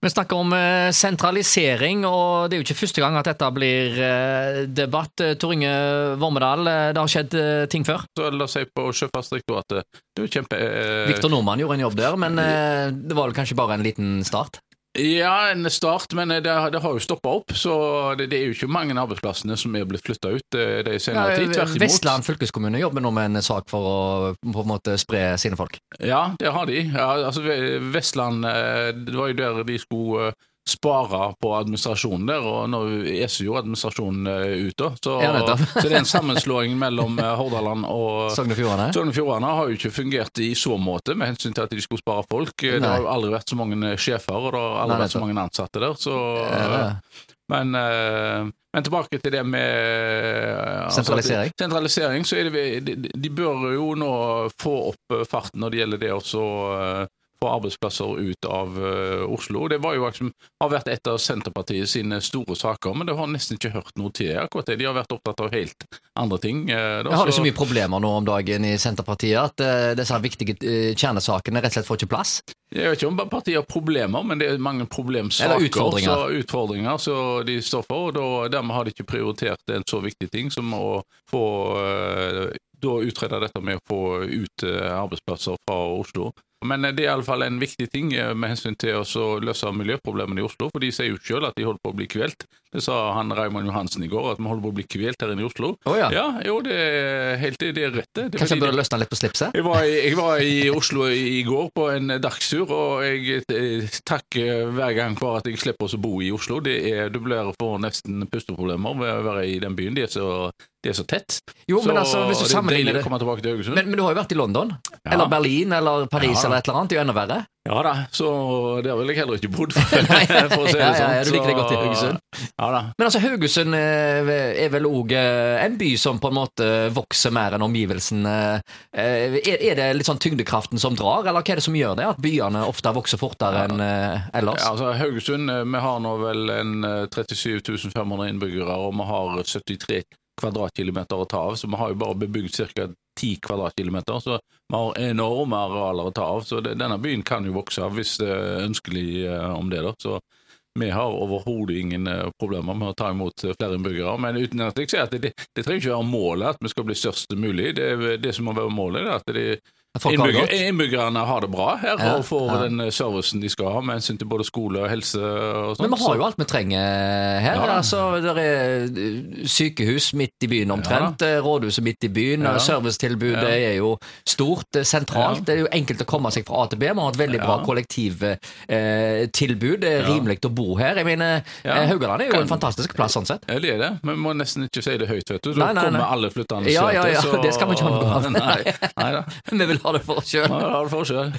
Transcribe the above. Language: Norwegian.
Vi snakker om eh, sentralisering, og det er jo ikke første gang at dette blir eh, debatt. Eh, Tor Inge Vormedal, eh, det har skjedd eh, ting før. Så la oss si på Sjøfartsdirektoratet. Det er jo kjempe... eh, Viktor Nordmann gjorde en jobb der, men eh, det var vel kanskje bare en liten start? Ja, en start, men eh, det, det har jo stoppa opp. Så det, det er jo ikke mange arbeidsplassene som er blitt flytta ut eh, de senere tid. Tvert imot. Vestland fylkeskommune jobber nå med en sak for å på en måte spre sine folk. Ja, det har de. Ja, altså, Ve- Vestland eh, det var jo der de skulle eh, spare på administrasjonen der, og nå eser jo administrasjonen eh, ut, da. Så, Ja, nettopp. så det er en sammenslåing mellom eh, Hordaland og Sogn og Fjordane. Sogn og Fjordane har jo ikke fungert i så måte med hensyn til at de skulle spare folk. Det Nei. har jo aldri vært så mange eh, sjefer, og det har aldri Nei, vært så mange ansatte der. Så, Eh, men, eh, men tilbake til det med eh, altså, Sentralisering. at- sentralisering, så er det, de, de bør jo nå få opp eh, farten når det gjelder det også eh, få arbeidsplasser ut av eh, Oslo. Det var jo liksom, har vært et av Senterpartiet sine store saker, men det har nesten ikke hørt noe til det. akkurat det. De har vært opptatt av helt andre ting. eh, da, Jeg har det så- så mye problemer nå om dagen i Senterpartiet at eh, disse viktige eh, kjernesakene rett og slett får ikke plass. Jeg vet ikke om partiet har problemer, men det er mange problemsaker. Eller utfordringer. Så utfordringer så de står for, og da, dermed har de ikke prioritert en så viktig ting som å få eh, da utrede dette med å få ut eh, arbeidsplasser fra Oslo. Men eh, det er iallfall en viktig ting eh, med hensyn til å så løse miljøproblemene i Oslo. For de sier jo sjøl at de holder på å bli kvelt. Det sa han Raymond Johansen i går, at vi holder på å bli kvelt her inne i Oslo. Oh, Ja, jo, det er helt det er rett, det. det. er Kanskje fordi jeg burde løsne litt på slipset? jeg var, i, jeg var i Oslo i går på en dagstur, og jeg eh, takker hver gang for at jeg slipper å bo i Oslo. Det er, du blir får nesten pusteproblemer ved å være i den byen. Det er så, det er så tett. Jo, så men altså, hvis du det er sammenligner deilig det å komme tilbake til Haugesund. men, men du har jo vært i London, Ja. eller Berlin, eller Paris, Ja, da. eller et eller annet. Det er jo enda verre. Ja da, så der ville jeg heller ikke bodd, for, for å si det Ja, sånn. ja, ja, du så- liker det godt i Haugesund. Ja da. Men altså, Haugesund eh, er vel òg en by som på en måte vokser mer enn omgivelsene. Eh, Er er det litt sånn tyngdekraften som drar, eller hva er det som gjør det? At byene ofte vokser fortere enn eh, ellers? Ja, altså, Haugesund, eh, vi har nå vel en eh, 37 500 innbyggere, og vi har 73 kvadratkilometer å ta av, så vi har jo bare bebygd ca. 10 kvadratkilometer, så vi har enorme arealer å ta av, så det, denne byen kan jo vokse av hvis det er ønskelig eh, om det, da. Så vi har overhodet ingen eh, problemer med å ta imot eh, flere innbyggere. Men uten at jeg sier at det, det trenger ikke være målet at vi skal bli størst mulig. Det, er- det som må være målet, det er at det, At folk har det Innbygger- godt? Innbyggerne har det bra her Ja, og får ja. den eh, servicen de skal ha med hensyn til både skole og helse. og sånt. Men vi har jo alt vi trenger her. Sånn, Ja da. altså, det er eh, sykehus midt i byen omtrent, eh, rådhuset midt i byen, Ja. eh, servicetilbudet Ja. er jo stort, eh, sentralt. Ja. Det er jo enkelt å komme seg fra A til B. Vi har et veldig bra Ja. kollektivtilbud. Det er Ja. rimelig å bo her. Jeg mener, Ja. eh, Haugaland er jo Kan- en fantastisk plass sånn sett. Ja, det er det. Men vi må nesten ikke si det høyt, vet du. Da Nei, nei, nei. kommer alle flyttende Ja, ja, søte, ja, så- det skal vi ikke ha noe av. Nei, nei da. Vi vil ha det for oss sjøl. Ja, det har du for sjøl.